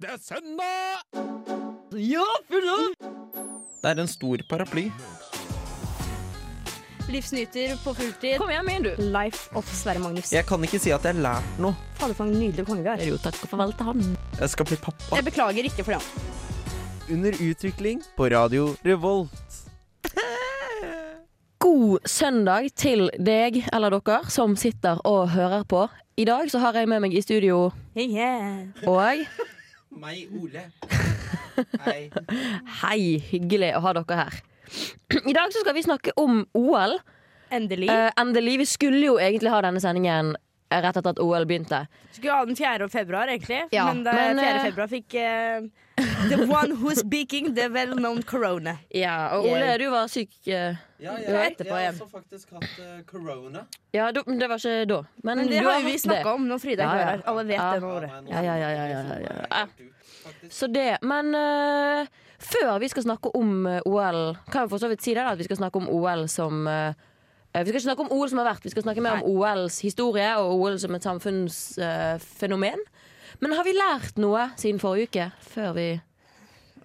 Det er søndag! Ja, full av! Det er en stor paraply. Livsnyter på fulltid. Kom igjen, min du. Life of Sverre Magnus. Jeg kan ikke si at jeg har lært noe. Fader, for en nydelig konge vi har. Jo, takk og farvel til han. Jeg skal bli pappa. Jeg beklager ikke for det. Under utvikling på Radio Revolt. God søndag til deg eller dere som sitter og hører på. I dag så har jeg med meg i studio Yeah. og Meg, Ole. Hei. Hei, hyggelig å ha dere her. I dag så skal vi snakke om OL. Endelig. Eh, endelig. Vi skulle jo egentlig ha denne sendingen eh, rett etter at OL begynte. Skulle ha den 4. februar, egentlig. Ja, men det men, 4. eh, februar fikk eh, The one who's speaking the well-known corona. Ja, og Ole, du var syk eh, Ja, Det var etterpå jeg har igjen. også faktisk hatt eh, corona. Ja, du, men det var ikke da. Men, Men det du har hatt jo vi det. snakka om når Frida Ja, ikke var ja. her. Alle vet Ja. det nå. Ole. nei, nå- Ja, ja, ja, ja, ja, ja, nå ja. er jeg helt ut, faktisk. Så det, men eh, før vi skal snakke om eh, OL, kan vi for så vidt si det da, at vi skal snakke om OL som eh, eh, Vi skal ikke snakke om OL som har vært, vi skal snakke mer om OLs historie og OL som et samfunnsfenomen. men har vi lært noe siden forrige uke? Før vi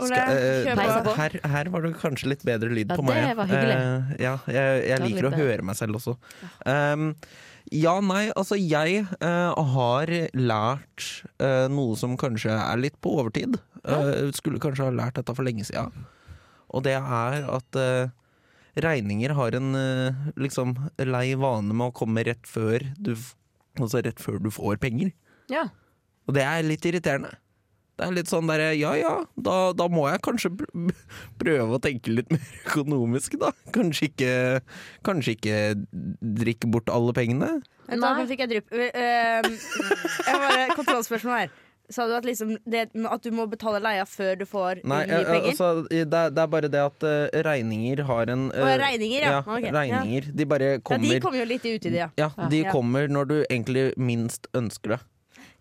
Ole, Skal, eh, kjør peise på. på. her, her var det kanskje litt bedre lyd Ja, på det meg. var hyggelig. Eh, ja, jeg, jeg var liker litt eh, å bedre. høre meg selv også. Um, ja, nei, altså jeg eh, har lært eh, noe som kanskje er litt på overtid. Eh, skulle kanskje ha lært dette for lenge siden. Og det er at eh, regninger har en eh, liksom lei vane med å komme rett før du, f- altså rett før du får penger. Ja. Og det er litt irriterende. Det er litt sånn derre ja ja, da, da må jeg kanskje pr- prøve å tenke litt mer økonomisk, da. Kanskje ikke, kanskje ikke drikke bort alle pengene. Vent, da Nei. fikk jeg drypp. Eh, jeg bare, kontrollspørsmål her. Sa du at, liksom, det, at du må betale leia før du får Nei, nye eh, penger? altså, det, er- det er bare det at eh, regninger har en eh, Å, regninger, ja. Ok, ja. regninger. De bare ja, kommer. de kommer jo litt ut i det, ja. Ja, de Ja. kommer når du egentlig minst ønsker det.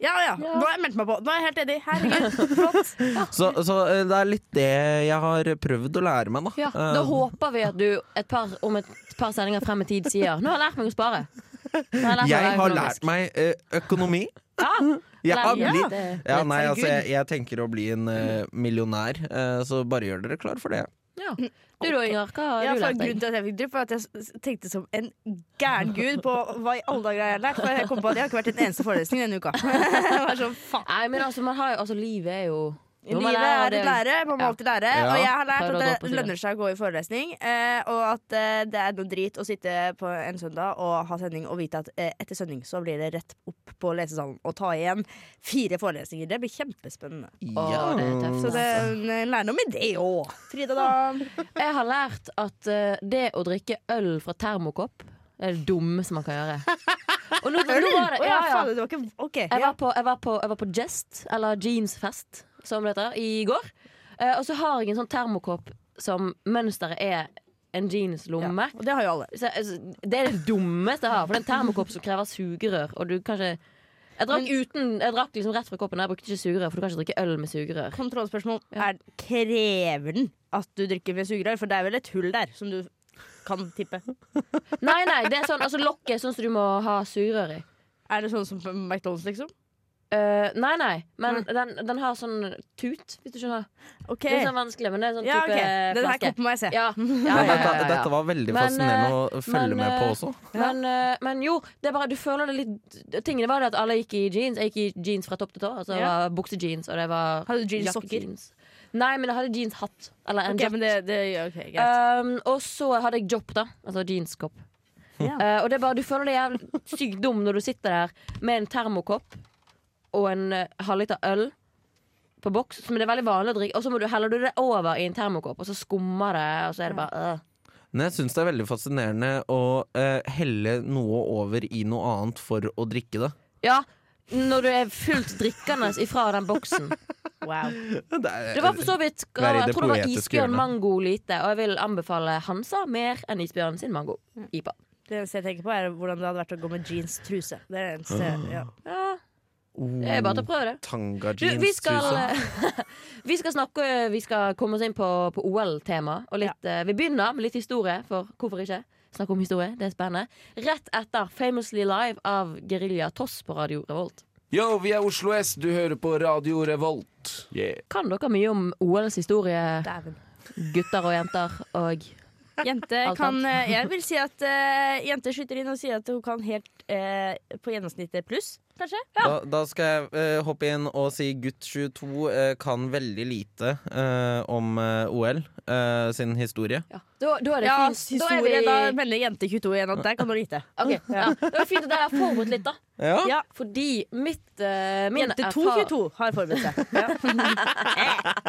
Ja, ja. Ja. Nå har jeg meldt meg på. Nå er jeg helt enig. Herregud. Flott. Så, så eh, det er litt det jeg har prøvd å lære meg, da. ja. Eh, Da håper vi at du et par, om et par sendinger frem i tid sier 'Nå har jeg lært meg å spare'. Nå har jeg lært meg å jeg være har økonomisk». lært meg eh, økonomi. Jeg Lærer har meg blitt det. Ja, Let's nei, say altså good. jeg, jeg tenker å bli en eh, millionær, eh, så bare gjør dere klar for det. Ja. Du da, Inger, hva har Ja, du for lært deg? grunnen til at jeg fikk drypp, var at jeg s- s- tenkte som en gæren gud på hva i alle dager jeg har lært. For jeg kom på at jeg har ikke vært en eneste forelesning denne uka. Jeg var sånn, faen. Nei, men altså, man har jo, altså livet er jo Jo, man Livet lærer er det. et lære, man må Ja. alltid lære. Ja. Og jeg har lært Prøver å dra at på det siden. lønner seg å gå i forelesning. eh, Og at eh, det er noe drit å sitte på en søndag og ha sending og vite at eh, etter sending så blir det rett opp på lesesalen og ta igjen fire forelesninger. Det blir kjempespennende. Å, det er tøft, Så det eh, er en lærdom i det òg. Frida, da? Jeg har lært at eh, det å drikke øl fra termokopp er det dummeste man kan gjøre. Og nå, nå var Å det, ja, ja, ja. fader, det var ikke OK. Jeg, ja. var på, jeg, var på, jeg var på Jest, eller Jeansfest, som det heter, i går. Eh, og så har jeg en sånn termokopp som mønsteret er en jeanslomme. Og det har jo alle. Så, altså, det er det dummeste jeg har, for det er en termokopp som krever sugerør. Og du kan ikke Jeg drakk, uten, jeg drakk liksom rett fra koppen, jeg brukte ikke sugerør, for du kan ikke drikke øl med sugerør. Kontrollspørsmål. Er, krever den at du drikker med sugerør? For det er vel et hull der som du kan tippe. Nei, nei, det er sånn, altså lokket er sånn som du må ha sugerør i. Er det sånn som på McDonald's, liksom? Eh, nei, nei, men Den, den har sånn tut, hvis du skjønner. Mm. OK. Det er sånn vanskelig, men det er sånn Ja, type ok. Den her flaske. koppen må jeg se. Ja, ja, Men ja, dette, ja, ja, dette ja. var veldig Men, fascinerende å følge men, med på eh, også. Men, eh, men jo, det er bare du føler det litt Tingen var det at alle gikk i jeans. Jeg gikk i jeans fra topp til tå. Altså det Ja. var buksejeans, og det var Hadde du jeanssokker? jakkejeans. Nei, men jeg hadde jeanshatt. Eller en Ok, jakke. men det, det ja, ok, greit. Um, og så hadde jeg jobb, da. Altså jeanskopp. Ja. Eh, og det er bare, du føler deg jævlig sykt dum når du sitter der med en termokopp og en eh, halvliter øl på boks, som det er veldig vanlig å drikke, og så må du, heller du det over i en termokopp, og så skummer det, og så er det bare øh. Men jeg syns det er veldig fascinerende å eh, helle noe over i noe annet for å drikke det. Ja, når du er fullt drikkende ifra den boksen. Wow. Det er, Det var for så vidt øh, Vær i det Jeg tror det var poetiske isbjørn hjørnet. mango lite, og jeg vil anbefale Hansa mer enn isbjørn sin mango. Ipa. Det eneste jeg tenker på, er hvordan det hadde vært å gå med jeans truse. Det er det eneste, ja. Ja, oh, det er bare til å prøve det. Tanga Du, vi, skal, jeans-truse. vi skal snakke Vi skal komme oss inn på, på OL-tema. Og litt, eh, Vi begynner med litt historie, for hvorfor ikke? Snakke om historie, det er spennende. Rett etter Famously Live av Gerilja Toss på Radio Revolt. Yo, vi er Oslo S, du hører på Radio Revolt. Yeah. Kan dere mye om OLs historie, Dæven. gutter og jenter? Og Jente Alt kan eh, Jeg vil si at eh, jenter skyter inn og sier at hun kan helt eh, på gjennomsnittet pluss, kanskje. Da, da skal jeg eh, hoppe inn og si gutt 22 eh, kan veldig lite eh, om eh, OL eh, sin historie. ja. da, da er det Ja, fint. Da er vi historie, da melder jente 22 igjen at der kan du lite. Ok, ja. Det var fint at dere har forberedt litt, da. Ja, Ja. Fordi mitt eh, min Jente erfar- 222 har forberedt seg. Ja.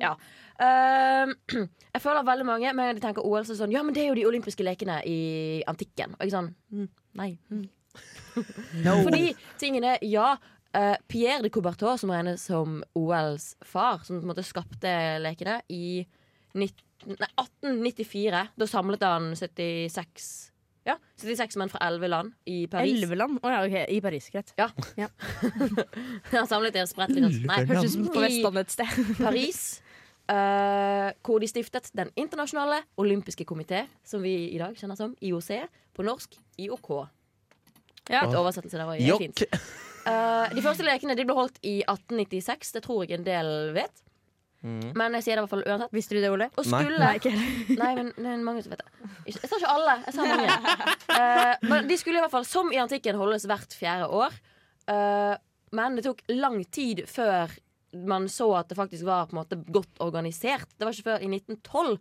Ja. Ehm, jeg føler veldig mange Men de tenker OL så er det sånn Ja, men det er jo de olympiske lekene i antikken. Og jeg sånn mm, Nei. Mm. Fordi tingene Ja, eh, Pierre de Coubertin, som regnes som OLs far, som på en måte skapte lekene i 19, nei, 1894. Da samlet han 76 Ja, 76 menn fra 11 land i Paris. Elveland. Å ja, ok. I Paris. Greit. Han samlet deres spredt litt Nei, Hørtes ut som på I- Vestlandet et sted. Paris, eh, hvor de stiftet Den internasjonale olympiske komité, som vi i dag kjenner som IOC, på norsk IOK. Ja. Et oversettelse der var jo helt fint. Jokk! Eh, de første lekene de ble holdt i 1896, det tror jeg en del vet. Mm. Men jeg sier det i hvert fall uansett. Visste du det, Ole? Og Nei. skulle Nei, ikke heller. Nei, men det er mange som vet det. Ikke- Jeg sa ikke alle. jeg sa mange Eh, Men De skulle i hvert fall, som i antikken, holdes hvert fjerde år. Eh, men det tok lang tid før man så at det faktisk var på en måte godt organisert. Det var ikke før i 1912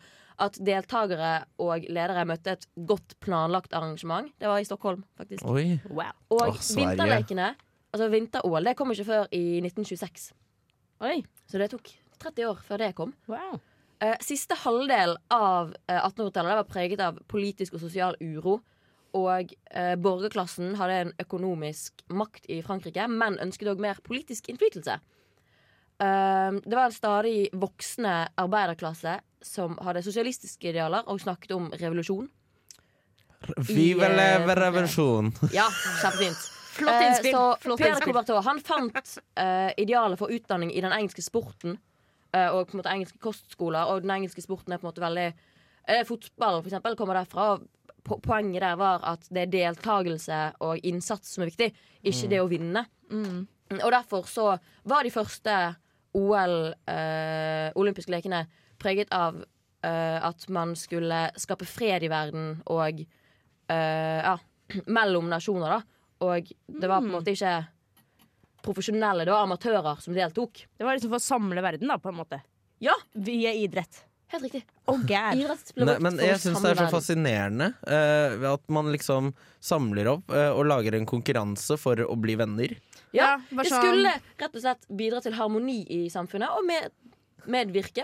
at deltakere og ledere møtte et godt planlagt arrangement. Det var i Stockholm, faktisk. Oi. Wow. Og Åh, Sverige. vinterlekene, altså vinter-OL, det kom ikke før i 1926. Oi. Så det tok 30 år før det kom. Wow. Eh, siste halvdel av eh, 1800-tallet var preget av politisk og sosial uro. Og eh, borgerklassen hadde en økonomisk makt i Frankrike, men ønsket òg mer politisk innflytelse. Eh, det var en stadig voksende arbeiderklasse som hadde sosialistiske idealer og snakket om revolusjon. Vive I, eh, leve revolusjon. Ja, kjempefint. Flott Eh, innspill. Så Flott Pierre de innspill. Coubertin han fant eh, idealet for utdanning i den engelske sporten eh, og på en måte engelske kostskoler. Og den engelske sporten er på en måte veldig eh, Fotball for eksempel, kommer derfra. og po- Poenget der var at det er deltakelse og innsats som er viktig, ikke det å vinne. Mm. Mm, Og derfor så var de første OL, eh, olympiske lekene, preget av eh, at man skulle skape fred i verden og eh, ja, mellom nasjoner, da. Og det var på en måte ikke profesjonelle, det var amatører som deltok. Det var liksom for å samle verden, da, på en måte. Ja, Via idrett. helt riktig. Og gæren. Idrett ble Nei, brukt men for å jeg syns det er så samle verden. fascinerende eh, ved at man liksom samler opp eh, og lager en konkurranse for å bli venner. Ja, Ja, bare det sånn- skulle rett og slett bidra til harmoni i samfunnet, og med, medvirke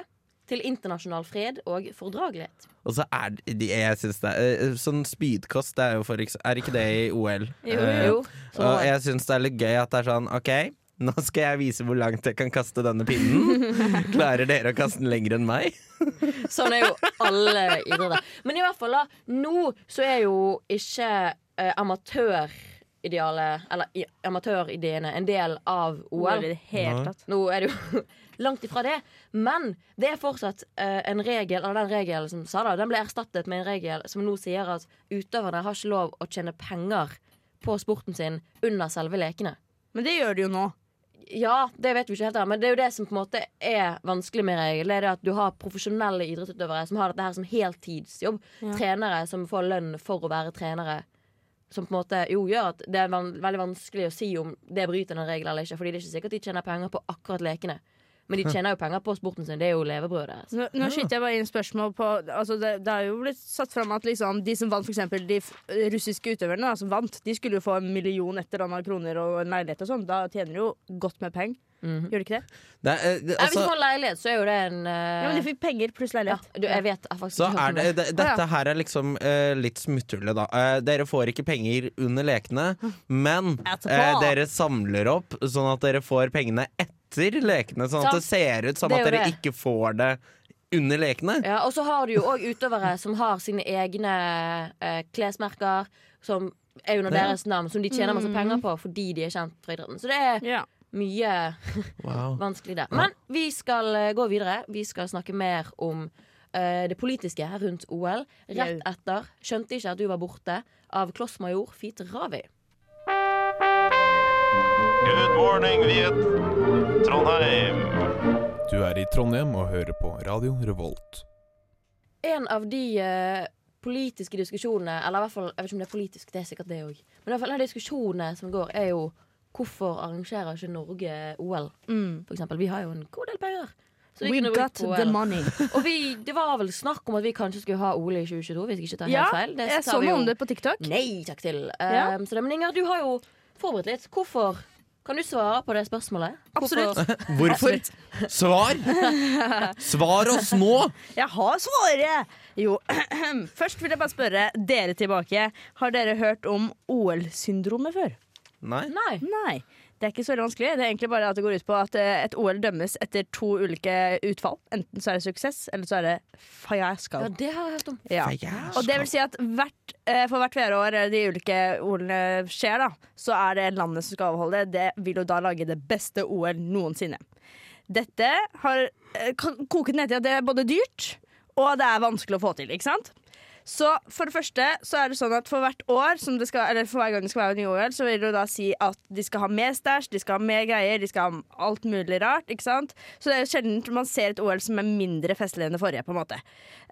til internasjonal fred og fordragelighet. Og så er det de- jeg synes det er, eh, Sånn spydkast, det er jo for eks- Er ikke det i OL? Jo, Eh, Jo, så, Og jeg syns det er litt gøy at det er sånn OK, nå skal jeg vise hvor langt jeg kan kaste denne pinnen. Klarer dere å kaste den lenger enn meg? Sånn er jo alle idretter. Men i hvert fall, da. Nå så er jo ikke eh, amatøridealet, eller i- amatørideene, en del av Wow. OL. I det hele Nei. tatt. Nå er det jo langt ifra det, men det er fortsatt eh, en regel, eller den regelen som sa da, den ble erstattet med en regel som nå sier at utøverne har ikke lov å tjene penger på sporten sin under selve lekene. Men det gjør det jo nå. Ja, det vet vi ikke helt, da, men det er jo det som på en måte er vanskelig med regel. Det er det at du har profesjonelle idrettsutøvere som har dette her som heltidsjobb. Trenere som får lønn for å være trenere. Som på en måte jo gjør at det er van veldig vanskelig å si om det bryter den regelen eller ikke. Fordi det er ikke sikkert de tjener penger på akkurat lekene. Men de tjener jo penger på sporten sin. Det er jo levebrødet deres. Nå, nå skyter jeg bare inn spørsmål på altså det, det er jo blitt satt fram at liksom, de som vant, for eksempel de f- russiske utøverne da, som vant, de skulle jo få en million et eller annet kroner og en leilighet og sånn. Da tjener de jo godt med penger. Gjør de ikke det? Det er, eh, det, Nei, hvis du altså, får en leilighet, så er jo det en eh, Ja, men de fikk penger pluss ja, leilighet. du, Jeg vet jeg har faktisk så ikke hørt er om det, det, Å, ja. dette her er liksom eh, litt smutthullet, da. Eh, dere får ikke penger under lekene, men Etterpå. eh, dere samler opp sånn at dere får pengene etter lekene. Sånn at Sant. det ser ut som Det at er jo dere det. ikke får det under lekene. Ja, og så har du jo òg utøvere som har sine egne eh, klesmerker, som er under Ja. deres navn, som de tjener masse penger på fordi de er kjent fra idretten. Så det er Ja. mye Wow. vanskelig der. Men vi skal eh, gå videre. Vi skal snakke mer om eh, det politiske rundt OL. Jau. Rett etter 'Skjønte ikke at du var borte' av Klossmajor Fit Ravi. Good morning, Viet. Trondheim. Du er i Trondheim og hører på Radio Revolt. en av de eh, politiske diskusjonene Eller i hvert fall, jeg vet ikke om det er politisk, det er sikkert det òg. Men i hvert fall en av diskusjonene som går, er jo hvorfor arrangerer ikke Norge OL, Mm. for eksempel? Vi har jo en god del penger. Så vi We kunne brukt got på the OL. money. Og vi, det var vel snakk om at vi kanskje skulle ha OL i 2022, hvis jeg ikke tar helt Ja, feil. Det Jeg tar så vi noe jo- om det på TikTok. Nei takk til. Ja. Ehm, så det, men Inger, du har jo forberedt litt. Hvorfor? Kan du svare på det spørsmålet? Hvorfor- Absolutt. Hvorfor? Svar! Svar oss nå! Jeg har svaret! Jo, først vil jeg bare spørre dere tilbake. Har dere hørt om OL-syndromet før? Nei. Nei. Nei. Det er ikke så veldig vanskelig. Det er egentlig bare at det går ut på at eh, et OL dømmes etter to ulike utfall. Enten så er det suksess, eller så er det Ja, fiasko. det har jeg hørt om. Ja. Fiasko. Og det vil si at hvert, eh, for hvert VR-år de ulike OL-ene skjer, da, så er det landet som skal avholde det. Det vil jo da lage det beste OL noensinne. Dette har eh, kan- koket ned til at det er både dyrt og det er vanskelig å få til. ikke sant? Så for det første så er det sånn at for hvert år som det skal, eller for hver gang det skal være en ny OL, så vil det jo da si at de skal ha mer stæsj, de skal ha mer greier, de skal ha alt mulig rart. ikke sant? Så det er jo sjelden man ser et OL som er mindre festlig enn det forrige. på en måte.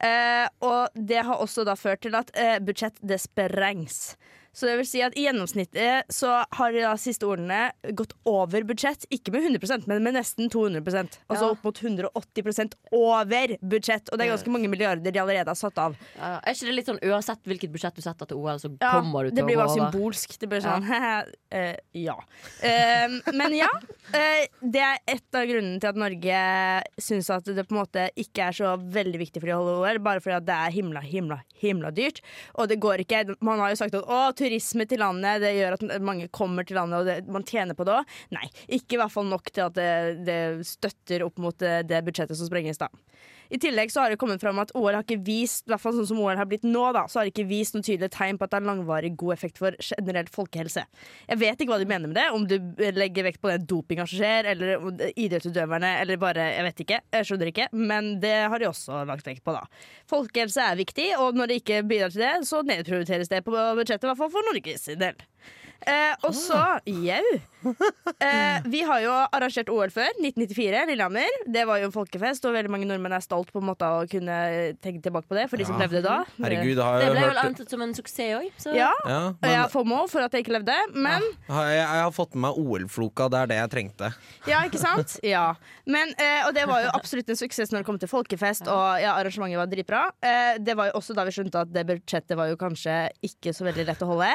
Eh, og det har også da ført til at eh, budsjett det sprengs. Så det vil si at i gjennomsnittet så har de da siste ordene gått over budsjett. Ikke med 100 men med nesten 200 Altså Ja. opp mot 180 over budsjett. Og det er ganske mange milliarder de allerede har satt av. Ja, er ikke det litt sånn uansett hvilket budsjett du setter til OL, så Ja, kommer du til det å blir gå bare over? symbolsk. Det blir sånn eh, ja. Eh, men ja, eh, det er et av grunnene til at Norge syns at det på en måte ikke er så veldig viktig for de å holde OL, bare fordi at det er himla, himla, himla dyrt. Og det går ikke. Man har jo sagt at å, turisme til landet, det gjør at mange kommer til landet, og det, man tjener på det òg. Nei, ikke i hvert fall nok til at det, det støtter opp mot det, det budsjettet som sprenges, da. I tillegg så har det kommet fram at OL har ikke vist i hvert fall sånn som OL har blitt nå da, så har det ikke vist noen tydelige tegn på at det har langvarig god effekt for generell folkehelse. Jeg vet ikke hva de mener med det, om du legger vekt på den dopinga som skjer, eller om det- idrettsutøverne, eller bare Jeg vet ikke. Jeg skjønner ikke. Men det har de også lagt vekt på, da. Folkehelse er viktig, og når det ikke bidrar til det, så nedprioriteres det på budsjettet, i hvert fall for Norges del. Eh, og så Jau! Eh, vi har jo arrangert OL før. 1994, Lillehammer. Det var jo en folkefest, og veldig mange nordmenn er stolt på en måte av å kunne tenke tilbake på det, for de som Ja. levde da. Herregud, har Det jeg ble vel hørt ansett som en suksess òg, så Ja, ja, og jeg men, har FOMO for at jeg ikke levde, men har jeg, jeg har fått med meg OL-floka. Det er det jeg trengte. Ja, ikke sant? Ja. Men, eh, og det var jo absolutt en suksess når det kom til folkefest, og ja, arrangementet var dritbra. Eh, det var jo også da vi skjønte at det budsjettet var jo kanskje ikke så veldig lett å holde.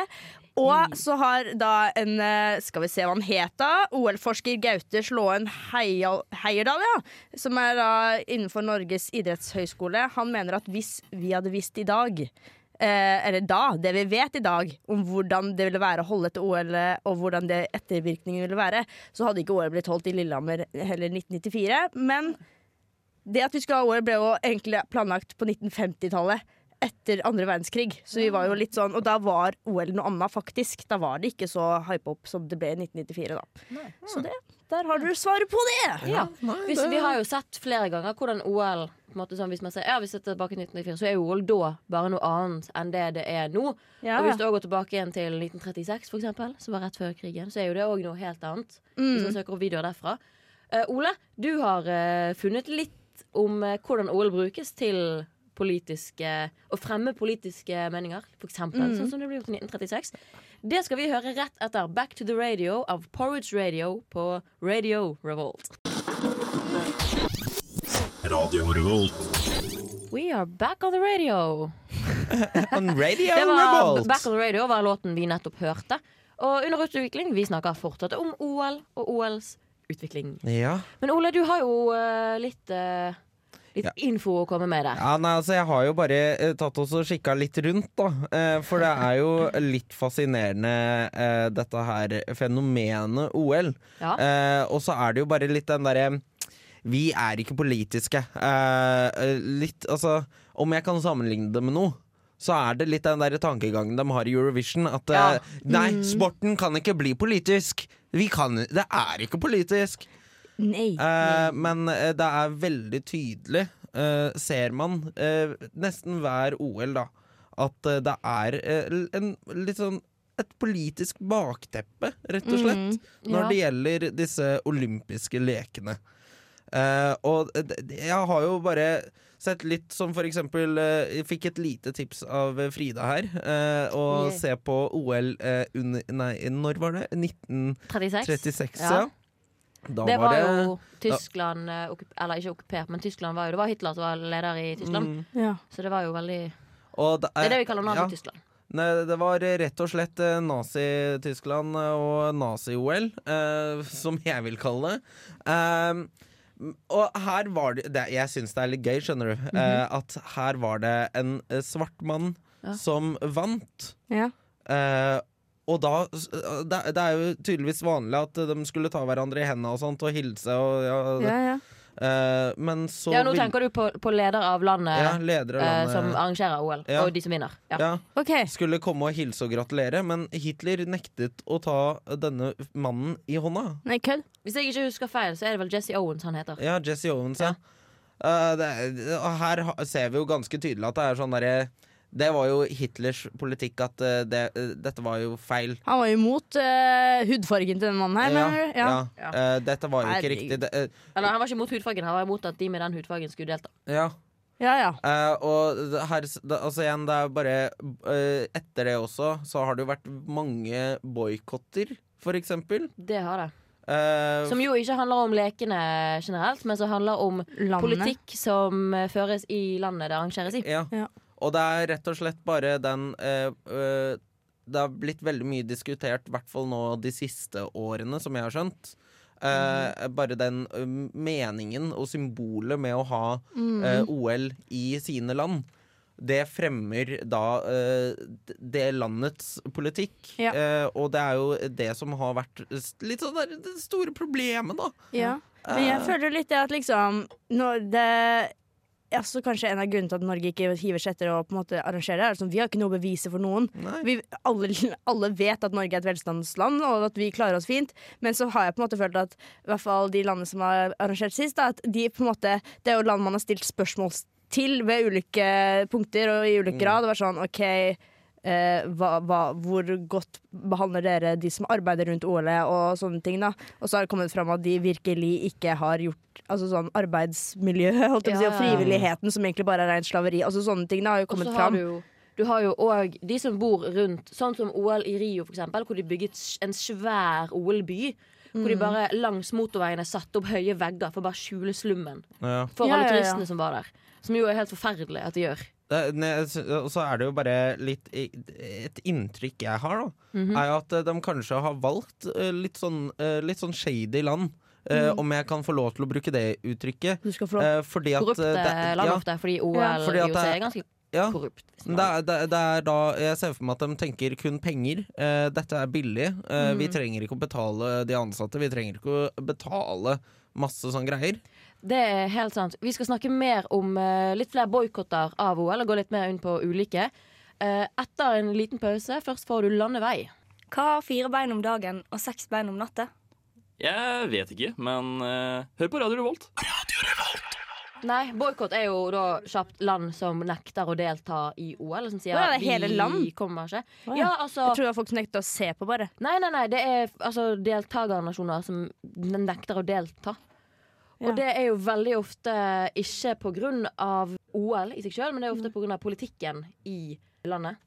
Og så har da en eh, Skal vi se hva han het, da? OL-forsker Gaute Slåen Heial- Heierdal, ja. Som er da innenfor Norges idrettshøyskole. Han mener at hvis vi hadde visst i dag Eh, eller da, det vi vet i dag om hvordan det ville være å holde et OL, og hvordan det ettervirkningen ville være, så hadde ikke OL blitt holdt i Lillehammer heller 1994. Men det at vi skulle ha OL, ble jo egentlig planlagt på 1950-tallet. Etter andre verdenskrig. Så vi var jo litt sånn Og da var OL noe annet, faktisk. Da var det ikke så hypa opp som det ble i 1994, da. Så det, der har du svaret på det! Ja. Hvis, vi har jo sett flere ganger hvordan OL på en måte sånn, Hvis man ser, ja, vi ser tilbake til 1994, så er jo OL da bare noe annet enn det det er nå. Ja. Og hvis du også går tilbake igjen til 1936, for eksempel, som var rett før krigen, så er jo det òg noe helt annet. Mm. Hvis man søker opp videoer derfra. Eh, Ole, du har eh, funnet litt om eh, hvordan OL brukes til politiske Å fremme politiske meninger, for eksempel. Mm. Sånn som det ble gjort i 1936. Det skal vi høre rett etter Back to the Radio av Porridge Radio på Radio Revolt. Radio Revolt. We are back on the radio. On radio Det var revolt! Back on the radio var låten vi nettopp hørte. Og under utvikling, vi snakker fortsatt om OL og OLs utvikling. Ja. Men Ole, du har jo eh, litt, eh, litt Ja. info å komme med der. ja, nei, altså Jeg har jo bare eh, tatt oss og kikka litt rundt, da. Eh, for det er jo litt fascinerende, eh, dette her fenomenet OL. Ja. Eh, og så er det jo bare litt den derre Vi er ikke politiske. Eh, eh, litt, altså Om jeg kan sammenligne det med noe, så er det litt den der tankegangen de har i Eurovision. At eh, Ja. Mm. nei, sporten kan ikke bli politisk. Vi kan Det er ikke politisk. Nei. Eh, Mm. men eh, det er veldig tydelig, eh, ser man, eh, nesten hver OL, da, at eh, det er eh, l- en litt sånn et politisk bakteppe, rett og slett, når Mm. ja. det gjelder disse olympiske lekene. Eh, og d- d- jeg har jo bare sett litt som for eksempel eh, Jeg fikk et lite tips av eh, Frida her. eh, å Yeah. se på OL eh, under Nei, når var det? 36. 1936, ja. Ja. Da Det var jo Tyskland eh, okkup- Eller ikke okkupert, men Tyskland var jo Det var Hitler som var leder i Tyskland. Mm. Ja. Så det var jo veldig Det Og det er det vi kaller ja. Nazi-Tyskland. Nei, det var eh, rett og slett eh, Nazi-Tyskland eh, og Nazi-OL, eh, som jeg vil kalle det. Ehm, m- og her var det, det Jeg syns det er litt gøy, skjønner du, eh, at her var det en eh, svart mann Mhm. Ja. som vant. Ja. Eh, og da s- eh, det, det er jo tydeligvis vanlig at de skulle ta hverandre i hendene og sånt og hilse og ja, Ja, ja. eh, Men så Ja, nå vil- tenker du på, på leder av landet ja, leder av eh, landet som arrangerer OL, Ja. og de som vinner. Ja. ja. OK. skulle komme og hilse og gratulere, men Hitler nektet å ta denne mannen i hånda. Nei, kødd. Hvis jeg ikke husker feil, så er det vel Jesse Owens han heter. Ja, Jesse Owens, ja. Eh, det, er- og her ha- ser vi jo ganske tydelig at det er sånn derre Det var jo Hitlers politikk at eh, det, eh, dette var jo feil. Han var jo imot eh, hudfargen til den mannen her, mener du? Ja. ja. Eh, dette var jo ikke Herregud. riktig. Det, eh, Eller han var ikke imot hudfargen, han var imot at de med den hudfargen skulle delta. ja. Ja, ja. Eh, og det her, det, altså igjen, det er bare eh, Etter det også, så har det jo vært mange boikotter, for eksempel. Det har det. Eh, Som jo ikke handler om lekene generelt, men som handler om Landet. politikk som eh, føres i landet det arrangeres i. Ja. Ja. Og det er rett og slett bare den eh, eh, Det har blitt veldig mye diskutert, i hvert fall nå de siste årene, som jeg har skjønt. Eh, Mhm. Bare den eh, meningen og symbolet med å ha Mhm. eh, OL i sine land. Det fremmer da eh, d- det landets politikk. Ja. Eh, og det er jo det som har vært s- litt sånn der, det store problemet, da. Ja. Men jeg føler litt det at liksom når det Altså Kanskje en av grunnene til at Norge ikke hiver seg etter å på en måte arrangere, er liksom, vi har ikke noe å bevise for noen. Nei. Vi, alle, alle vet at Norge er et velstandsland, og at vi klarer oss fint. Men så har jeg på en måte følt at i hvert fall de landene som har arrangert sist, da, at de på en måte, det er jo land man har stilt spørsmål til ved ulike punkter og i ulik grad. Og vært sånn OK, eh, hva, hva, hvor godt behandler dere de som arbeider rundt OL og sånne ting, da? Og så har det kommet fram at de virkelig ikke har gjort Altså sånn arbeidsmiljø holdt jeg på å si, og Ja, ja, ja. frivilligheten, som egentlig bare er rent slaveri. Altså Sånne ting da, har jo Og kommet så har fram. du jo du har jo òg de som bor rundt, sånn som OL i Rio, for eksempel, hvor de bygget s- en svær OL-by. Hvor de bare langs motorveiene satte opp høye vegger for å bare skjule slummen. Ja. For Ja, alle ja, ja. turistene som var der. Som jo er helt forferdelig at de gjør. Det- ne- jeg sy- Og så er det jo bare litt i- Et inntrykk jeg har, da, Mhm. er jo at eh, de kanskje har valgt eh, litt sånn, eh, litt sånn shady land. eh, Mhm. Om jeg kan få lov til å bruke det uttrykket. Du skal få lov Eh, fordi at Korrupte eh, det, land ja, ofte, fordi OL Ja, fordi at i OC det- er ganske ja, korrupt. hvis Men man- det, er- det, er- det er da Jeg ser for meg at de tenker kun penger. Eh, dette er billig. Eh, Mhm. Vi trenger ikke å betale de ansatte. Vi trenger ikke å betale masse sånne greier. Det er helt sant. Vi skal snakke mer om eh, litt flere boikotter av OL, og gå litt mer inn på ulike. Eh, etter en liten pause, først får du landevei. Hva har fire bein om dagen og seks bein om natta? Jeg vet ikke, men eh, hør på Radio Revolt. Nei, boikott er jo da kjapt land som nekter å delta i OL. Som sier Hva, er det hele land? vi kommer ikke. Å, ja. Ja, altså Jeg tror det var folk som nekta å se på, bare. Nei, nei, nei. Det er altså, deltakernasjoner som nekter å delta. Ja. Og det er jo veldig ofte ikke på grunn av OL i seg sjøl, men det er Mm. ofte på grunn av politikken i landet.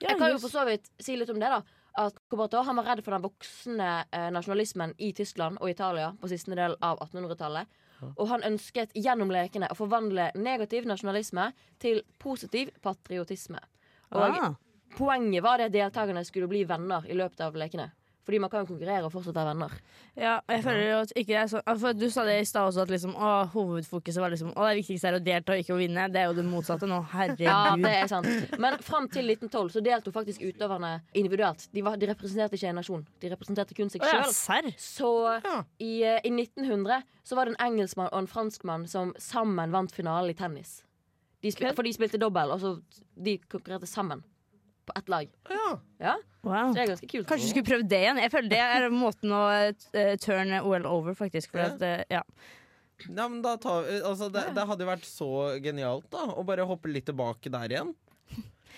Jeg kan jo for så vidt si litt om det, da. At Roberto han var redd for den voksende eh, nasjonalismen i Tyskland og Italia på siste del av 1800-tallet. Og han ønsket gjennom lekene å forvandle negativ nasjonalisme til positiv patriotisme. Og Ah. poenget var det at deltakerne skulle bli venner i løpet av lekene. Fordi man kan jo konkurrere og fortsatt være venner. Ja, og jeg føler jo at ikke det er sånn for Du sa det i stad også, at liksom, å, hovedfokuset var liksom Å, det viktigste er å delta og ikke å vinne. Det er jo det motsatte nå. Ja, Herregud. det er sant. Men fram til 1912 så deltok faktisk utøverne individuelt. De, var, de representerte ikke en nasjon. De representerte kun seg Å ja, sjøl. serr? Så Ja. i, eh, i 1900 så var det en engelskmann og en franskmann som sammen vant finalen i tennis. De spil, for de spilte dobbel, og så de konkurrerte sammen på ett lag. Ja. Ja, så Wow. det er ganske kult. Kanskje du skulle prøvd det igjen? Jeg føler Det er måten å eh, turn OL over, faktisk. For at, eh, ja. Ja, men da tar, altså, det, det hadde jo vært så genialt, da. Å bare hoppe litt tilbake der igjen.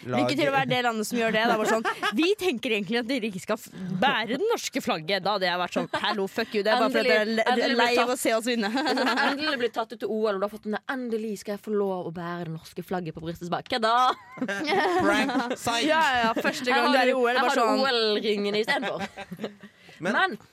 Lag- Lykke til å være det landet som gjør det. Det er bare sånn, vi tenker egentlig at dere ikke skal f- bære det norske flagget. Da hadde jeg vært sånn hallo, fuck you. Det er bare fordi dere er Endelig- le- endelig lei blir av å se oss vinne. Endelig blir tatt ut til OL, og du har fått den der, endelig skal jeg få lov å bære det norske flagget på brystets bak. Hva da? Prank, psych! Ja, ja, første Jeg gang du har er i OL, jeg bare har sånn OL-ringene istedenfor. Men- Men Det-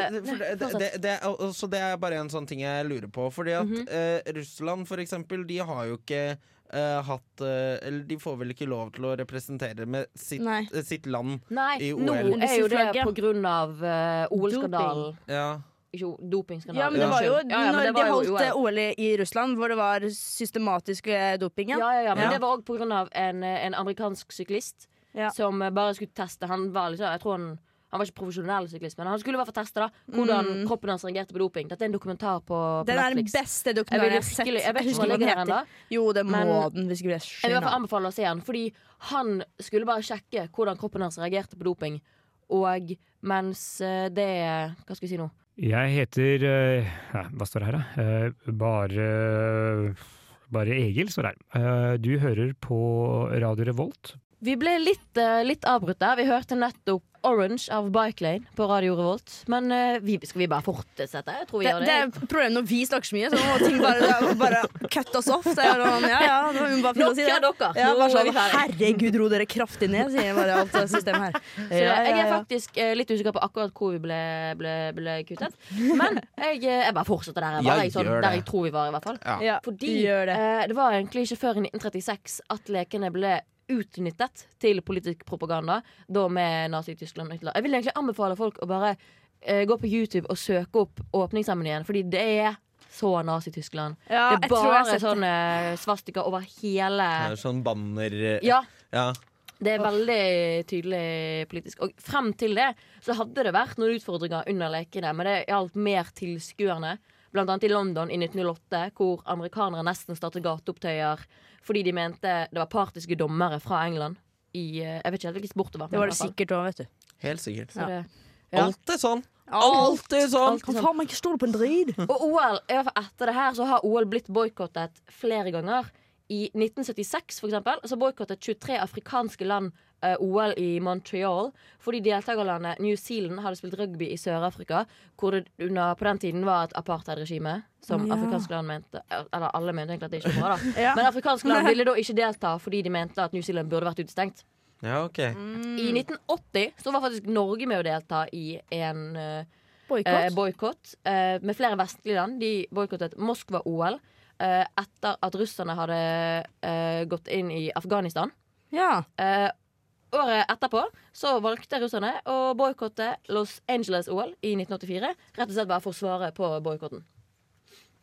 Eh, for det, det, det, det, er- og- så det er bare en sånn ting jeg lurer på. Fordi at Mhm. eh, Russland, for eksempel, de har jo ikke eh, hatt eh, Eller de får vel ikke lov til å representere med sitt, Nei. eh, sitt land nei, i nå OL. er jo det Flagget. på grunn av eh, OL-skandalen. Ja. Ikke o- dopingskandalen. ja, men det var jo Ja, ja, men når det var de jo holdt eh, OL. OL i i Russland, hvor det var systematisk eh, doping. Ja, Ja. ja, ja, Ja. men det var òg på grunn av en, eh, en amerikansk syklist Ja. som eh, bare skulle teste. Han var liksom, jeg tror han han var ikke profesjonell syklist, men han skulle i hvert fall teste da hvordan kroppen hans reagerte på doping. Dette er en dokumentar på, på Mm. Den er den Netflix. beste Jeg dokumentaren vil jeg har sett. virkelig, jeg vet husker ikke hva hva den den heter ennå. heter. Jo, det må Men- den. Hvis ikke blir Jeg vil i hvert fall skjønna. anbefale å se den, fordi han skulle bare sjekke hvordan kroppen hans reagerte på doping. Og mens eh, det Hva skal vi si nå? Jeg heter eh, ja, Hva står det her, da? Eh, Bare Bare Egil står det her. Eh, Du hører på Radio Revolt. Vi ble litt, eh, litt avbrutt der. Vi hørte nettopp Orange av Bike Lane på Radio Revolt. Men eh, vi, skal vi bare fortsette? Jeg tror vi Det, gjør det er problemet når vi snakker så mye, så må ting bare, bare cut oss off. Så er det sånn, ja, ja, det var hun bare fin å si det. Nok av dere. Ja, Nå bare er sånn, vi ferdig. Herregud, ro dere kraftig ned, sier bare alt det systemet her. Så jeg er faktisk eh, litt usikker på akkurat hvor vi ble, ble, ble kuttet. Men jeg, eh, jeg bare fortsetter der jeg, var, Jeg jeg, sånn, gjør det. der jeg tror vi var. i hvert fall Ja, Fordi gjør det. eh, det var egentlig ikke før i 1936 at lekene ble utnyttet til politisk propaganda. Da med Nazi-Tyskland. og Hitler. Jeg vil egentlig anbefale folk å bare eh, gå på YouTube og søke opp åpningsstemmen igjen, fordi det er så Nazi-Tyskland. Ja, jeg det er tror jeg har bare sett det. sånn- sånne svastika over hele Det er sånn banner eh, Ja, ja. det er veldig tydelig politisk. Og frem til det så hadde det vært noen utfordringer under lekene, men det gjaldt mer til skuerne. Blant annet i London i 1908, hvor amerikanere nesten startet gateopptøyer fordi de mente det var partiske dommere fra England i eh, Jeg vet ikke helt hvilken sport det var. men Det var det i hvert fall. sikkert òg, vet du. Helt sikkert. Så det- Ja. Alt er sånn! Alt! Alt er sånn! Kan faen meg ikke stole på en drit! Og OL, i hvert fall etter det her, så har OL blitt boikottet flere ganger. I 1976 for eksempel, så boikottet 23 afrikanske land eh, OL i Montreal fordi deltakerlandet New Zealand hadde spilt rugby i Sør-Afrika, hvor det under, på den tiden var et apartheidregime. Som Ja. afrikanske land mente Eller alle mente egentlig at det ikke var bra, da. Ja. Men afrikanske land ville da ikke delta fordi de mente at New Zealand burde vært utestengt. Ja, ok. I 1980 så var faktisk Norge med å delta i en eh, Boikott. eh, boikott eh, med flere vestlige land. De boikottet Moskva-OL eh, etter at russerne hadde eh, gått inn i Afghanistan. ja. Eh, året etterpå så valgte russerne å boikotte Los Angeles-OL i 1984. Rett og slett bare for å svare på boikotten.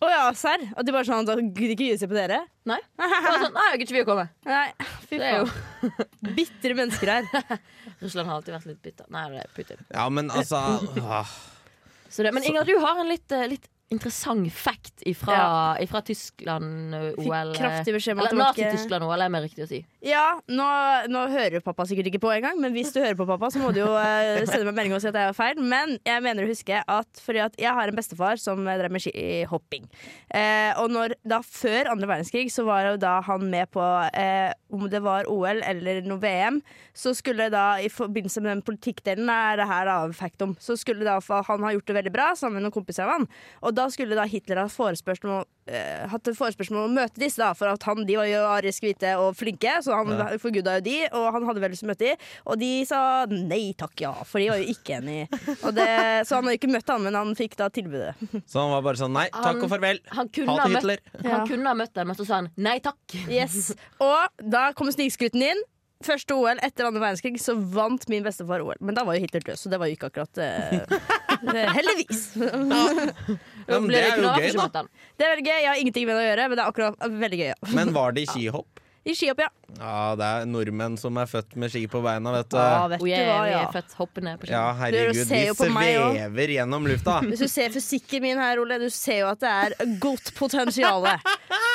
Å ja, serr? Og de bare sånn da Gidder ikke gi seg på dere? Nei. Det var sånn, Nei, jeg gidder ikke vi å komme. Nei, fy Det er faen. Bitre mennesker her. Russland har alltid vært litt bitter. Nei, det er Putin. Ja, men altså Mm. ah. Så det, men Inger, du har en litt, eh, litt interessant fact ifra, ifra Tyskland-OL. Fikk kraftig beskjed om at eh, Eller det var ikke- Nazi-Tyskland-OL, er mer riktig å si. Ja, nå, nå hører pappa sikkert ikke på engang, men hvis du hører på pappa, så må du jo eh, sende meg en melding og si at jeg har feil. Men jeg mener å huske at fordi at jeg har en bestefar som eh, drev med skihopping. Eh, og når, da før andre verdenskrig så var jo da han med på eh, om det var OL eller noe VM, så skulle da i forbindelse med den politikkdelen er det her da fact om, så skulle da for han ha gjort det veldig bra sammen med noen kompiser av han. Og da skulle da Hitler ha forespørsel om å eh, hatt en forespørsel om å møte disse, da, for at han, de var jo arisk hvite og flinke, så han forguda jo de, og han hadde vel lyst til å møte de, og de sa nei takk, ja, for de var jo ikke enige. Og det, så han har jo ikke møtt han, men han fikk da tilbudet. Så han var bare sånn nei, takk Han- og farvel. Han kunne, Ha ha til møtt, Hitler. Ja. han kunne ha møtt den, men så sa han nei takk. Yes. Og da kom snikskryten inn. Første OL etter andre verdenskrig så vant min bestefar OL. Men da var jo Hitler død, så det var jo ikke akkurat eh, Heldigvis. Ja, men Ble det det er ikke jo noe av at gøy, du ikke da. møtte han? Det er veldig gøy. Jeg har ingenting med det å gjøre, men det er akkurat veldig gøy. Ja. Men var det i skihopp? I skihopp, ja. Ja, det er nordmenn som er født med ski på beina, vet du. Ja, vet Oh, du yeah, hva, Vi ja. er født hoppende på ski. Ja, herregud, Du de ser jo på meg også. svever gjennom lufta. Hvis du ser fysikken min her, Ole, du ser jo at det er godt potensial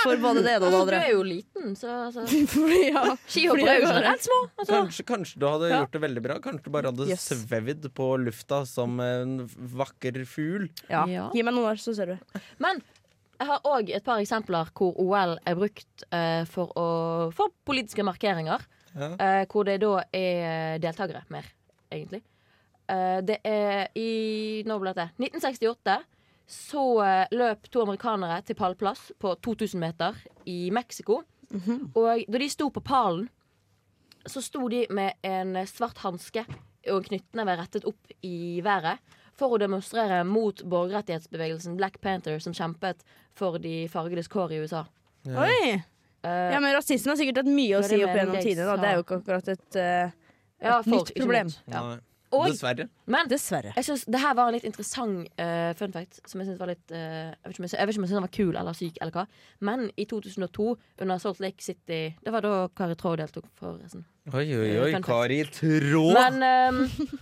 for både det ene og det Du andre. er jo liten, så, så. altså- Fordi, ja. Skihoppere er jo generelt små. Altså. Kanskje, kanskje du hadde gjort det veldig bra. Kanskje du bare hadde Yes. svevd på lufta som en vakker fugl. Ja. Ja. Gi meg noen år, så ser du. Men jeg har òg et par eksempler hvor OL er brukt eh, for, å, for politiske markeringer. eh, hvor det da er deltakere mer, egentlig. Eh, det er i Nå ble det 1968. Så eh, løp to amerikanere til pallplass på 2000 meter i Mexico. Og da de sto på pallen, så sto de med en svart hanske og knyttneve rettet opp i været for å demonstrere mot borgerrettighetsbevegelsen Black Panther, som kjempet for de fargedes kår i USA. Oi! Eh, Ja, men rasisme har sikkert hatt mye å Hva er si det opp med gjennom det jeg tidene. da. sa? Det er jo ikke akkurat et, eh, ja, et for, nytt ikke problem. sant? Ja. Nei. Og Dessverre. Men Dessverre. jeg synes det her var en litt interessant eh, fun fact. Som jeg synes var litt eh, Jeg vet ikke om jeg, sy- jeg vet ikke om jeg synes den var kul eller syk, eller hva. Men i 2002, under Salt Lake City Det var da Kari Traa deltok, forresten. Oi, oi, oi. Fun fact. Kari Trå. Men ehm,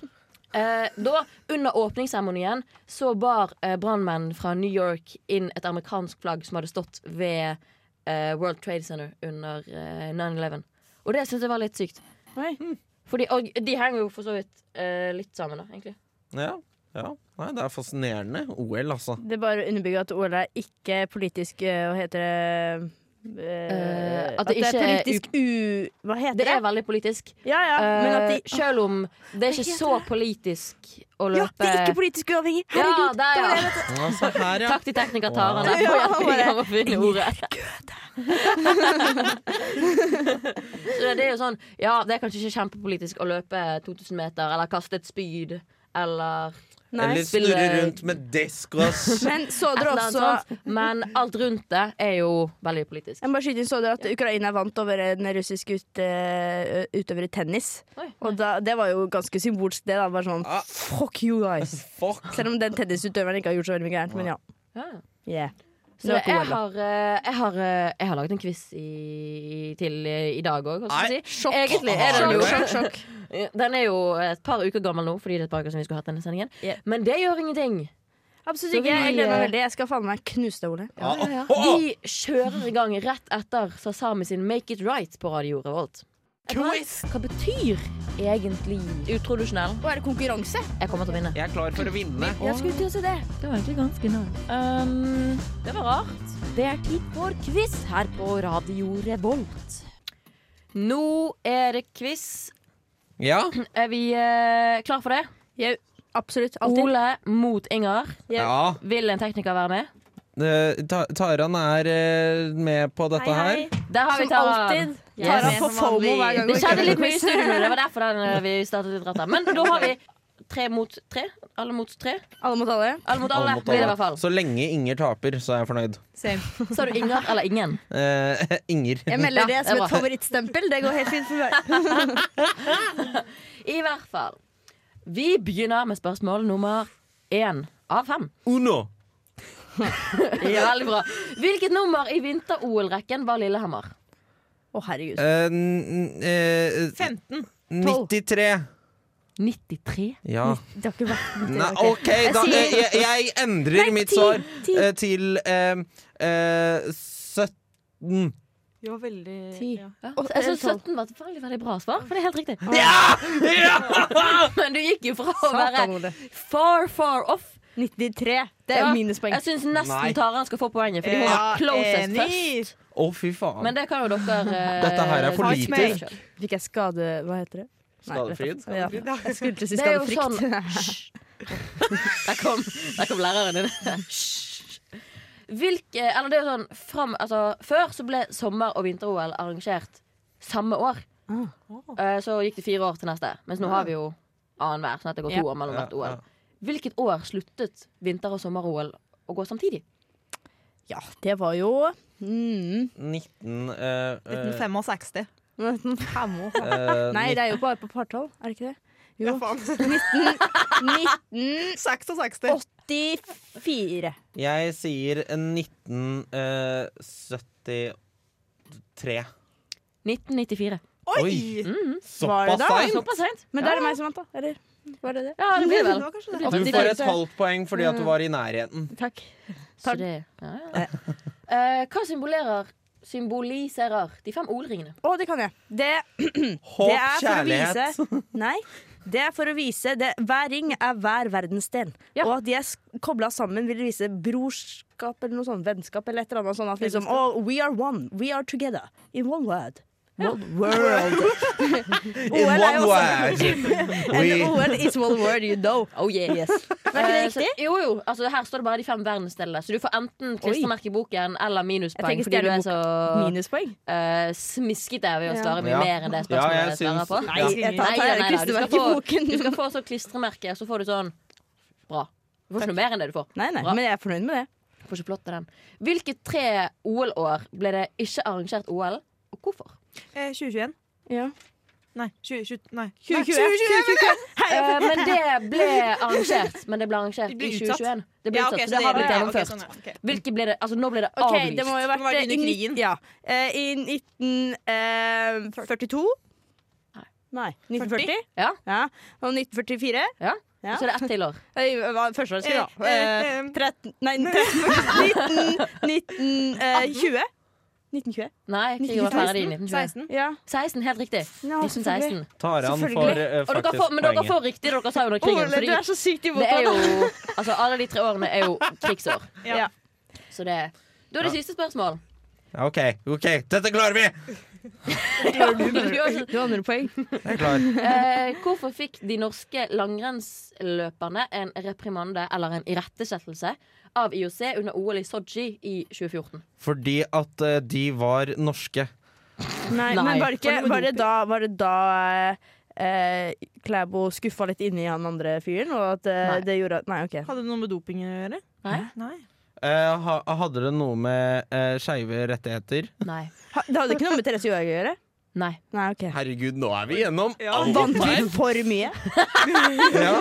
eh, da, under åpningsseremonien, så bar eh, brannmenn fra New York inn et amerikansk flagg som hadde stått ved eh, World Trade Center under eh, 9-11. Og det syns jeg var litt sykt. Oi. Fordi, og de henger jo for så vidt eh, litt sammen, da, egentlig. Ja. ja. Nei, det er fascinerende. OL, altså. Det er bare å underbygge at OL er ikke politisk eh, Hva heter det? Eh, Eh, at det ikke er politisk u... Hva heter Det det? er veldig politisk. Ja, ja, men at de Eh, selv om det er ikke heter så politisk å Ja, løpe det er ikke politisk uavhengig! Ja, Herregud! der, ja. altså her, ja. Takk til tekniker Tara Wow. der, for hjelpen min med å finne ordet. Så det er jo sånn Ja, det er kanskje ikke kjempepolitisk å løpe 2000 meter eller kaste et spyd eller Nei. Eller spille- snurre rundt med deskvass. Men så et dere eller annet også sånt, men alt rundt det er jo veldig politisk. jeg må bare skyte inn så dere at Ukraina vant over en russisk ut, eh, utøver i tennis. Oi. Og da, det var jo ganske symbolsk, det. da Bare sånn Ah. fuck you guys! Fuck. Selv om den tennisutøveren ikke har gjort så veldig mye gærent. Men ja. Ah. Ja. Yeah. Så Det var jeg ikke OL, da. har, eh, jeg, har, eh, jeg har laget en quiz i, til eh, i dag òg, hva skal Nei, jeg si. Egentlig er Har den du jo det? Sjokk, sjokk. Den er jo et par uker gammel nå, fordi det er et par uker siden vi skulle hatt denne sendingen. Ja. Men det gjør ingenting. Absolutt Så ikke. Jeg vi, gleder meg eh, veldig. Jeg skal faen meg knuse deg, Ole. Ja, ja, ja. De kjører i gang rett etter Sasami sin Make It Right på Radio Revolt. Quiz! Hva betyr egentlig utrodusjonell? Og er det konkurranse? Jeg kommer til å vinne. Jeg er klar for å vinne. Jeg skulle til å si det. Det var egentlig ganske nært. Um, det var rart. Det er tid for quiz her på Radio Revolt. Nå er det quiz. Ja. Er vi eh, klar for det? Jeg, absolutt. Alltid. Ole mot Inger. ja. Vil en tekniker være med? Eh, Ta- Taran er eh, med på dette her. Der har vi Som Taran. alltid. Yes. Tara Yes. får fomo hver gang. Det hun skjedde kødder. litt mye i studio nå. Det var derfor den, eh, vi startet litt rett der. Men da har vi tre mot tre. Alle mot tre. Alle mot alle. Alle mot Alle alle, mot blir det i alle. hvert fall. Så lenge Inger taper, så er jeg fornøyd. Sa du Inger eller ingen? Eh, Inger. Jeg melder det Ja, som det er et bra. favorittstempel. Det går helt fint for meg. I hvert fall. Vi begynner med spørsmål nummer én av fem. Uno! Ja, veldig bra. Hvilket nummer i vinter-OL-rekken var Lillehammer? Å, herregud. Eh, n- eh, 15. 93. 93? Ja. Det har ikke vært Nei, OK, da eh, jeg, jeg endrer mitt svar eh, til eh, eh, 17. Vi var veldig Ti. ja. Ja. Jeg syns 17 var et veldig, veldig bra svar, for det er helt riktig. Ja! ja! Men du gikk jo fra å være Satan, Ole. far, far off 93. Det er jo Ja, minuspoeng. Jeg syns nesten Nei. Taran skal få poenget, fordi hun Ja, var closest først. Enig! Å, fy faen. Men det kan jo dere eh, Dette her er for ta lite. med selv. Fikk jeg skade... Hva heter det? Nei, Skadefryd? Ja. Jeg skulle til å si Det er jo skadefrykt. Hysj. Der kom, der kom læreren din. Hysj. Hvilke, eller det er jo sånn, fram, altså, før så ble sommer- og vinter-OL arrangert samme år. Ah. Eh, Så gikk det fire år til neste. Mens nå har vi jo annenhver. Sånn at det går Ja. to år mellom hvert OL. Hvilket år sluttet vinter- og sommer-OL å gå samtidig? Ja, det var jo mm, 19 eh, eh, 1965. eh, Nei, det er jo bare på partall, er det ikke det? Ja, Jo. faen. 1984. 66. Jeg sier 1973. 1994. Oi. Oi! Mm, Mm. Var det Såpass da? seint! Såpass seint? Men da er det meg som vant, da. Eller var det det? Ja, det blir det Det vel. var kanskje det. Du får et halvt poeng fordi at du var i nærheten. Takk. Så det, ja, ja. Eh, hva symbolerer symboliserer de fem ordringene? Å, det kan jeg. Det Håp, det er kjærlighet. for å vise Nei, det er for å vise det. Hver ring er hver verdensdel. Ja. Og at de er kobla sammen, vil vise brorskap eller noe sånt. Vennskap eller et eller annet sånn at liksom Å, we are one. We are together. In one word. World World. In OL er one jo word! And We- OL is one word you know. Oh yeah. Yes. Var ikke det riktig? Eh, jo, jo. Altså, her står det bare de fem verdensdelene. Så du får enten klistremerke i boken eller minuspoeng Jeg tenker fordi du er så Minuspoeng. eh, smiskete ved å svare mye Ja. mer enn det Ja, spørsmålet jeg jeg svarer syns- på. Nei, jeg tar- tar Nei, det nei, nei, du skal klistremerke i få- boken. Du skal få sånn klistremerke, og så får du sånn Bra. Du får ikke noe mer enn det du får. Nei, nei, Bra. men jeg er fornøyd med det. Du Får ikke plott av den. Hvilke tre OL-år ble det ikke arrangert OL, og hvorfor? Eh, 2021? Ja. Nei. 2020, nei. 2020. Nei, 2020. Eh, men det ble arrangert. Men det ble arrangert Det ble i utsatt. 2021. Det ble Ja, utsatt, ok, så det har blitt ja, ok, gjennomført. sånn, ja, ok. Hvilke ble det Altså, nå ble det Ok, avlyst. det må jo ha Var vært det eh, under i ni- krigen? Ja. Eh, I 1942. Nei. Nei. 1940. Ja. Ja. Og 1944. ja. Så det er ett til år. Nei, hva er Førsteårsskriv, da. Eh, Eh, eh, 13 Nei, 13 19 19, eh, 20. 1920. Nei, krigen var ferdig i 1920. 16. Mm. Ja. 16, helt riktig. Ja, 1916. Taran får eh, Selvfølgelig. Og dere faktisk får, men dere poenget. får riktig det dere sa under krigen. Ole, Fordi du er så sykt imot det meg. er jo Altså, alle de tre årene er jo krigsår. Ja. Så det Da er det siste spørsmål. Ja, OK, ok, dette klarer vi! Du har 100 poeng. Jeg er klar. Eh, hvorfor fikk de norske langrennsløperne en reprimande eller en irettesettelse av IOC under OL i Sotsji i 2014? Fordi at eh, de var norske. Nei, Nei. men var det, ikke, var det da, var det da eh, Klæbo skuffa litt inni han andre fyren, og at eh, Nei. det gjorde at Nei, OK. Hadde det noe med doping å gjøre? Nei. Nei. Eh, ha, hadde det noe med uh, skeive rettigheter? Nei. Ha, det hadde ikke noe med Therese Johaug å gjøre? Nei. Nei, OK. Herregud, nå er vi gjennom Ja. alle Vant feil! du for mye? Ja.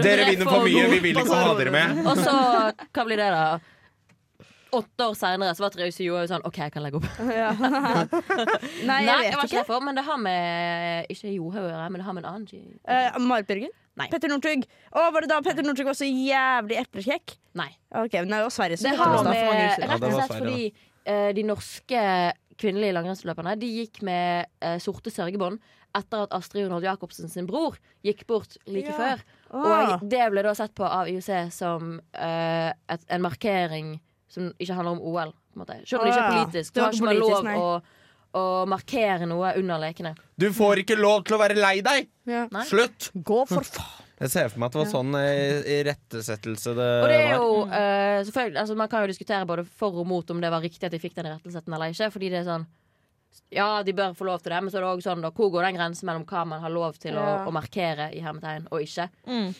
Dere vinner for mye, vi vil ikke ha dere med. Og så Hva blir det, da? Åtte år seinere var Therese Johaug sånn OK, jeg kan legge opp. Ja. Nei, Nei, jeg det var vet ikke ikke. derfor, men det har med Ikke Johaug å gjøre, men det har med en annen G- Eh, Marit Bjørgen? Nei. Petter Northug? Å, var det da Petter Northug var så jævlig eplekjekk? Nei. Ok, men det er jo Sverige som Det gjør har det, da, for mange uker med siden. Ja, Rett det og var slett Sverige, fordi eh, de norske kvinnelige langrennsløperne De gikk med eh, sorte sørgebånd etter at Astrid Ronald Jacobsen sin bror gikk bort like Ja. før. Åh. Og det ble da sett på av IOC som eh, et, en markering som ikke handler om OL. På en måte. Selv om det ikke Åh, er ja. Det politisk. Det var har ikke vært ikke lov politisk, å, å markere noe under lekene. Du får ikke lov til å være lei deg! Ja. Mm. Nei. Slutt! Gå for faen! Jeg ser for meg at det var sånn irettesettelse det, Og det er var. jo, eh, selvfølgelig, altså Man kan jo diskutere både for og mot om det var riktig at de fikk den rettelsetten eller ikke. Fordi det er sånn Ja, de bør få lov til det, men så er det også sånn da, hvor går den grensen mellom hva man har lov til Ja. å, å markere i hermetegn og ikke? Mm.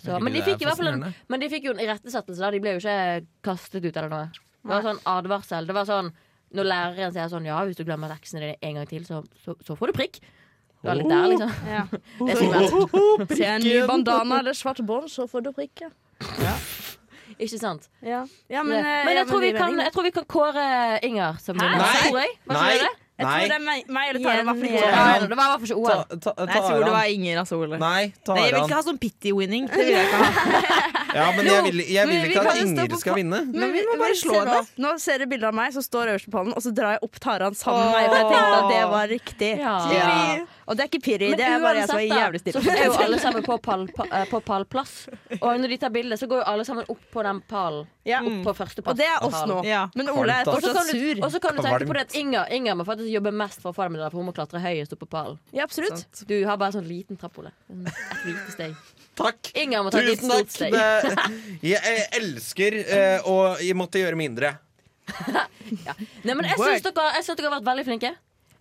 Så, men de fikk i hvert fall en Men de fikk jo en irettesettelse, da. De ble jo ikke kastet ut eller noe. Det var sånn advarsel. Det var sånn når læreren sier sånn Ja, hvis du glemmer leksene dine en gang til, så, så, så får du prikk. Det var litt der, liksom. Ja. Det er skummelt. Se en ny bandana eller svart bånd, så får du prikke. Ikke sant? Ja. Ja, Men, men, eh, ja, jeg, tror men vi vi er kan, venner. jeg tror vi kan kåre Inger som vinner. Nei! Tror jeg. Var Nei! ikke det det? Jeg tror det Nei! er meg, meg eller Tara. i hvert fall Ja, ikke. Taran. Det var i hvert fall ikke Ta, OL. ta, Nei, jeg tror det Taran. var Inger, altså, Ole. Nei, Nei, jeg vil ikke Taran. ha sånn pity winning. Det vil jeg ikke ha. Ja, men jeg vil, jeg men vil vi ikke kan at jo stå Inger på skal vinne. Men vi må bare slå se henne. Nå Nå ser du bilde av meg som står øverst på pallen, og så drar jeg opp Taran sammen med meg. For jeg tenkte at det var riktig. Ja. Piri. Og det er ikke pirri, Men det er bare jeg som er uansett, da, jævlig så er jo stille. alle sammen på, pall, pa, eh, på pallplass. Og når de tar bilde, så går jo alle sammen opp på den pallen. Ja. Opp på første Og plass. det er oss på nå. pallen. Ja. Men Ole er Kvalmt, Og så kan fortsatt du, sur. og så kan du tenke på det Kvalmt. at Inger, Inger må faktisk jobbe mest for farmen, for hun må klatre høyest opp på pallen. Ja, absolutt. Du har bare sånn liten trapp, Ole. Sånn Et lite steg. Takk! Inger må ta et Tusen lite stort takk! steg. Det, jeg, jeg elsker eh, å jeg måtte gjøre mindre. Nei, men jeg syns dere, jeg synes dere har vært veldig flinke.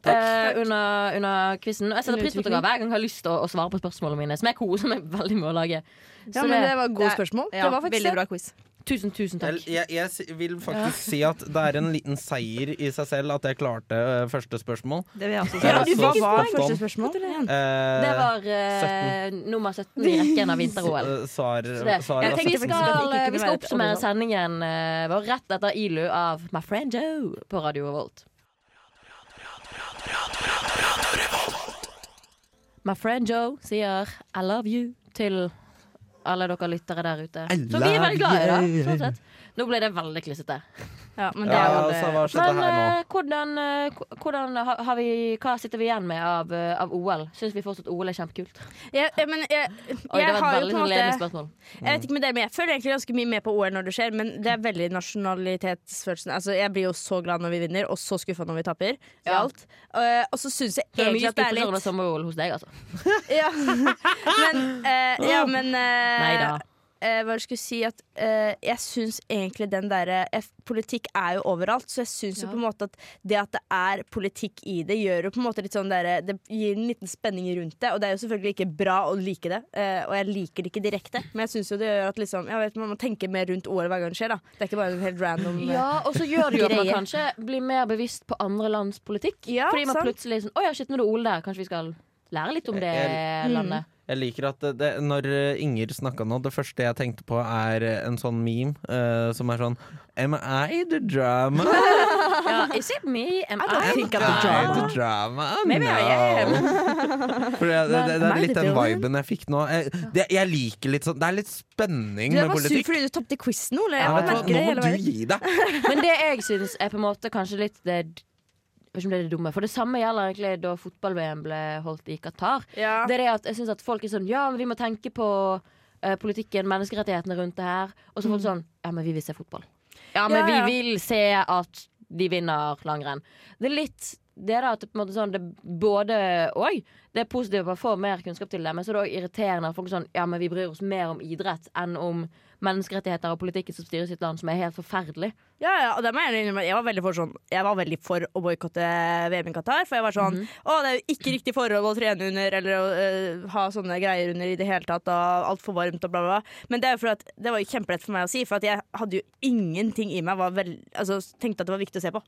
eh, under, under quizen. Og jeg setter pris på at dere hver gang har lyst til å, å svare på spørsmålene mine. Som jeg koser meg veldig med å lage. Ja, Så men det- det var gode det er- spørsmål. Ja, Det var faktisk veldig det. bra quiz. Tusen, tusen Jeg, takk. jeg, jeg si- vil faktisk si at det er en liten seier i seg selv at jeg klarte eh, første spørsmål. Det vil jeg også Ja, si. du Hva fikk et var poeng. første spørsmål? Eh, Det var eh, nummer 17 i rekken av vinter-OL. eh, Svar, Så det- svar Jeg altså. tenker Vi faktisk at det skal, eh, ikke kunne vi skal være et oppsummere overhold. sendingen eh, vår rett etter ILU av My Friend Joe på Radio Revolt. My friend Joe sier 'I love you' til alle dere lyttere der ute. Som vi er veldig glad i, da. Sånn sett. Nå ble det veldig klissete. Ja, men det Ja, er jo altså, hva det. skjedde Men her nå? eh, hvordan, eh, ko- hvordan har, har vi, hva sitter vi igjen med av, eh, av OL? Syns vi fortsatt OL er kjempekult? Jeg, jeg, men jeg, Oi, jeg det var har jo et veldig på en sånn ledende måte spørsmål. Jeg vet ikke med dere, men jeg føler egentlig ganske mye med på OL når det skjer, men det er veldig nasjonalitetsfølelsen. Altså, jeg blir jo så glad når vi vinner, og så skuffa når vi taper. i Ja. Alt. Eh, og så syns jeg Det er mye egentlig at det er skuffelser litt under sommer-OL hos deg, altså. Ja, men, eh, ja, men eh, Neida. eh, Hva jeg skulle si at eh, Jeg syns egentlig den derre eh, Politikk er jo overalt, så jeg syns jo Ja. på en måte at det at det er politikk i det, gjør jo på en måte litt sånn derre Det gir en liten spenning rundt det, og det er jo selvfølgelig ikke bra å like det. eh, og jeg liker det ikke direkte, men jeg syns jo det gjør at liksom Jeg vet, man må tenke mer rundt OL hver gang det skjer, da. Det er ikke bare en helt random eh, Ja, og så gjør det jo at man Greie. kanskje blir mer bevisst på andre lands politikk. Ja, fordi man sant. plutselig er sånn Å ja, shit, nå er det OL der. Kanskje vi skal lære litt om det Jeg- landet. Jeg liker at det, det, når eh, Inger snakka nå, det første jeg tenkte på er eh, en sånn meme eh, som er sånn Am I the drama? Ja, is it me? Am Am I? think I'm the I drama. the drama? Maybe I For det, det, det, det Am I er litt the den villain? viben jeg fikk nå. Jeg, det, jeg liker litt sånn Det er litt spenning Du er med bare sur politikk. fordi du tapte quizen, Ole. Jeg Ja, vet du hva, merker det nå må hele du veien. gi deg! Men det jeg syns er på en måte kanskje litt det jeg vet ikke om det er det dumme, for det samme gjelder egentlig da fotball-VM ble holdt i Qatar. Ja. Det er det at jeg synes at folk er sånn Ja, men vi må tenke på eh, politikken, menneskerettighetene rundt det her. Og så folk sånn Ja, men vi vil se fotball. Ja, men Mm. Ja, ja. vi vil se at de vinner langrenn. Det er litt det da, at det på en måte sånn, det er både og. Det er positivt at man får mer kunnskap til det, men så er det også irriterende at folk er sånn Ja, men vi bryr oss mer om idrett enn om menneskerettigheter og politikken som styrer sitt land, som er helt forferdelig. Ja, ja, og det må jeg gjerne innrømme. Jeg var veldig for, sånn, jeg var veldig for å boikotte VM i Qatar. For jeg var sånn Å, det er jo ikke riktig forhold å trene under eller å øh, ha sånne greier under i det hele tatt. Og altfor varmt og bla, bla, bla. Men det, er jo fordi at, det var jo kjempelett for meg å si, for at jeg hadde jo ingenting i meg var vel- altså, tenkte at det var viktig å se på.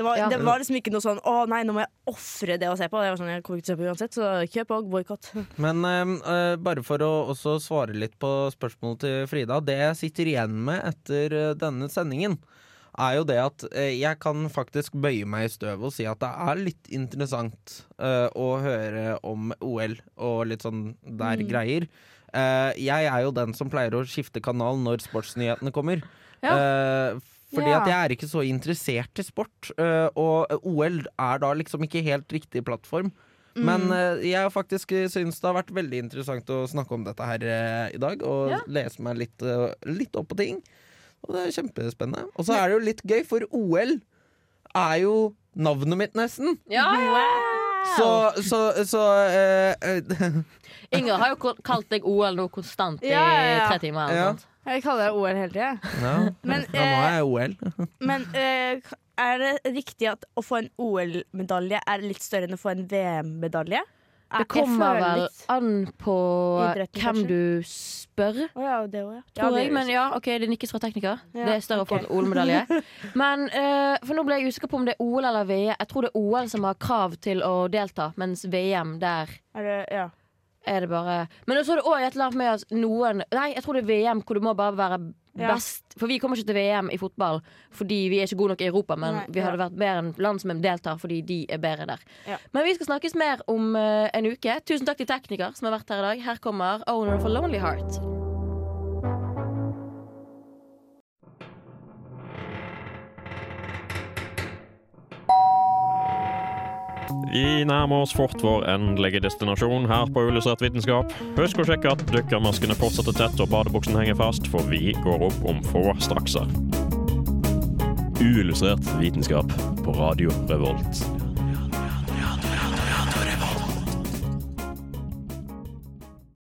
Det var, Ja. det var liksom ikke noe sånn 'Å nei, nå må jeg ofre det å se på'. Det var sånn, Jeg kommer ikke til å se på uansett, så kjøp og boikott. Men ehm, eh, bare for å også svare litt på spørsmålet til Frida. Det jeg sitter igjen med etter eh, denne sendingen, er jo det at eh, jeg kan faktisk bøye meg i støvet og si at det er litt interessant eh, å høre om OL og litt sånn der greier. Eh, jeg er jo den som pleier å skifte kanal når sportsnyhetene kommer. Eh, fordi Ja. at jeg er ikke så interessert i sport, eh, og OL er da liksom ikke helt riktig plattform. Men eh, jeg faktisk syns det har vært veldig interessant å snakke om dette her eh, i dag, og Ja. lese meg litt, eh, litt opp på ting. Og det er kjempespennende. Og så er det jo litt gøy, for OL er jo navnet mitt, nesten. Så, så, så eh, eh, Inger har jo ko- kalt deg OL nå konstant i Ja, ja, ja. tre timer. Eller Ja. noe sånt. Jeg kaller det OL hele tida. ja, Men, ja, nå er jeg OL. Men eh, er det riktig at å få en OL-medalje er litt større enn å få en VM-medalje? Er- Det jeg kommer føler vel litt- an på Idretten, hvem kanskje? du spør. Å ja, det òg, ja. Tror det jeg, gjør men det. ja, ok, Det nikkes fra tekniker. Ja, det er større å få ok. en OL-medalje. Men eh, for nå ble jeg usikker på om det er OL eller VM. Jeg tror det er OL som har krav til å delta, mens VM der Er det, ja. er det bare Men så er det òg et eller annet med at noen Nei, jeg tror det er VM hvor du må bare være Ja. best. For vi kommer ikke til VM i fotball fordi vi er ikke gode nok i Europa, men Nei, vi hadde vært bedre enn land som deltar fordi de er bedre der. Ja. Men vi skal snakkes mer om eh, en uke. Tusen takk til tekniker som har vært her i dag. Her kommer Owner of a Lonely Heart. Vi nærmer oss fort vår endelige destinasjon her på Illustrert vitenskap. Husk å sjekke at dykkermaskene fortsatt er tett og badebuksen henger fast, for vi går opp om få strakser. Uillustrert vitenskap på Radio Revolt.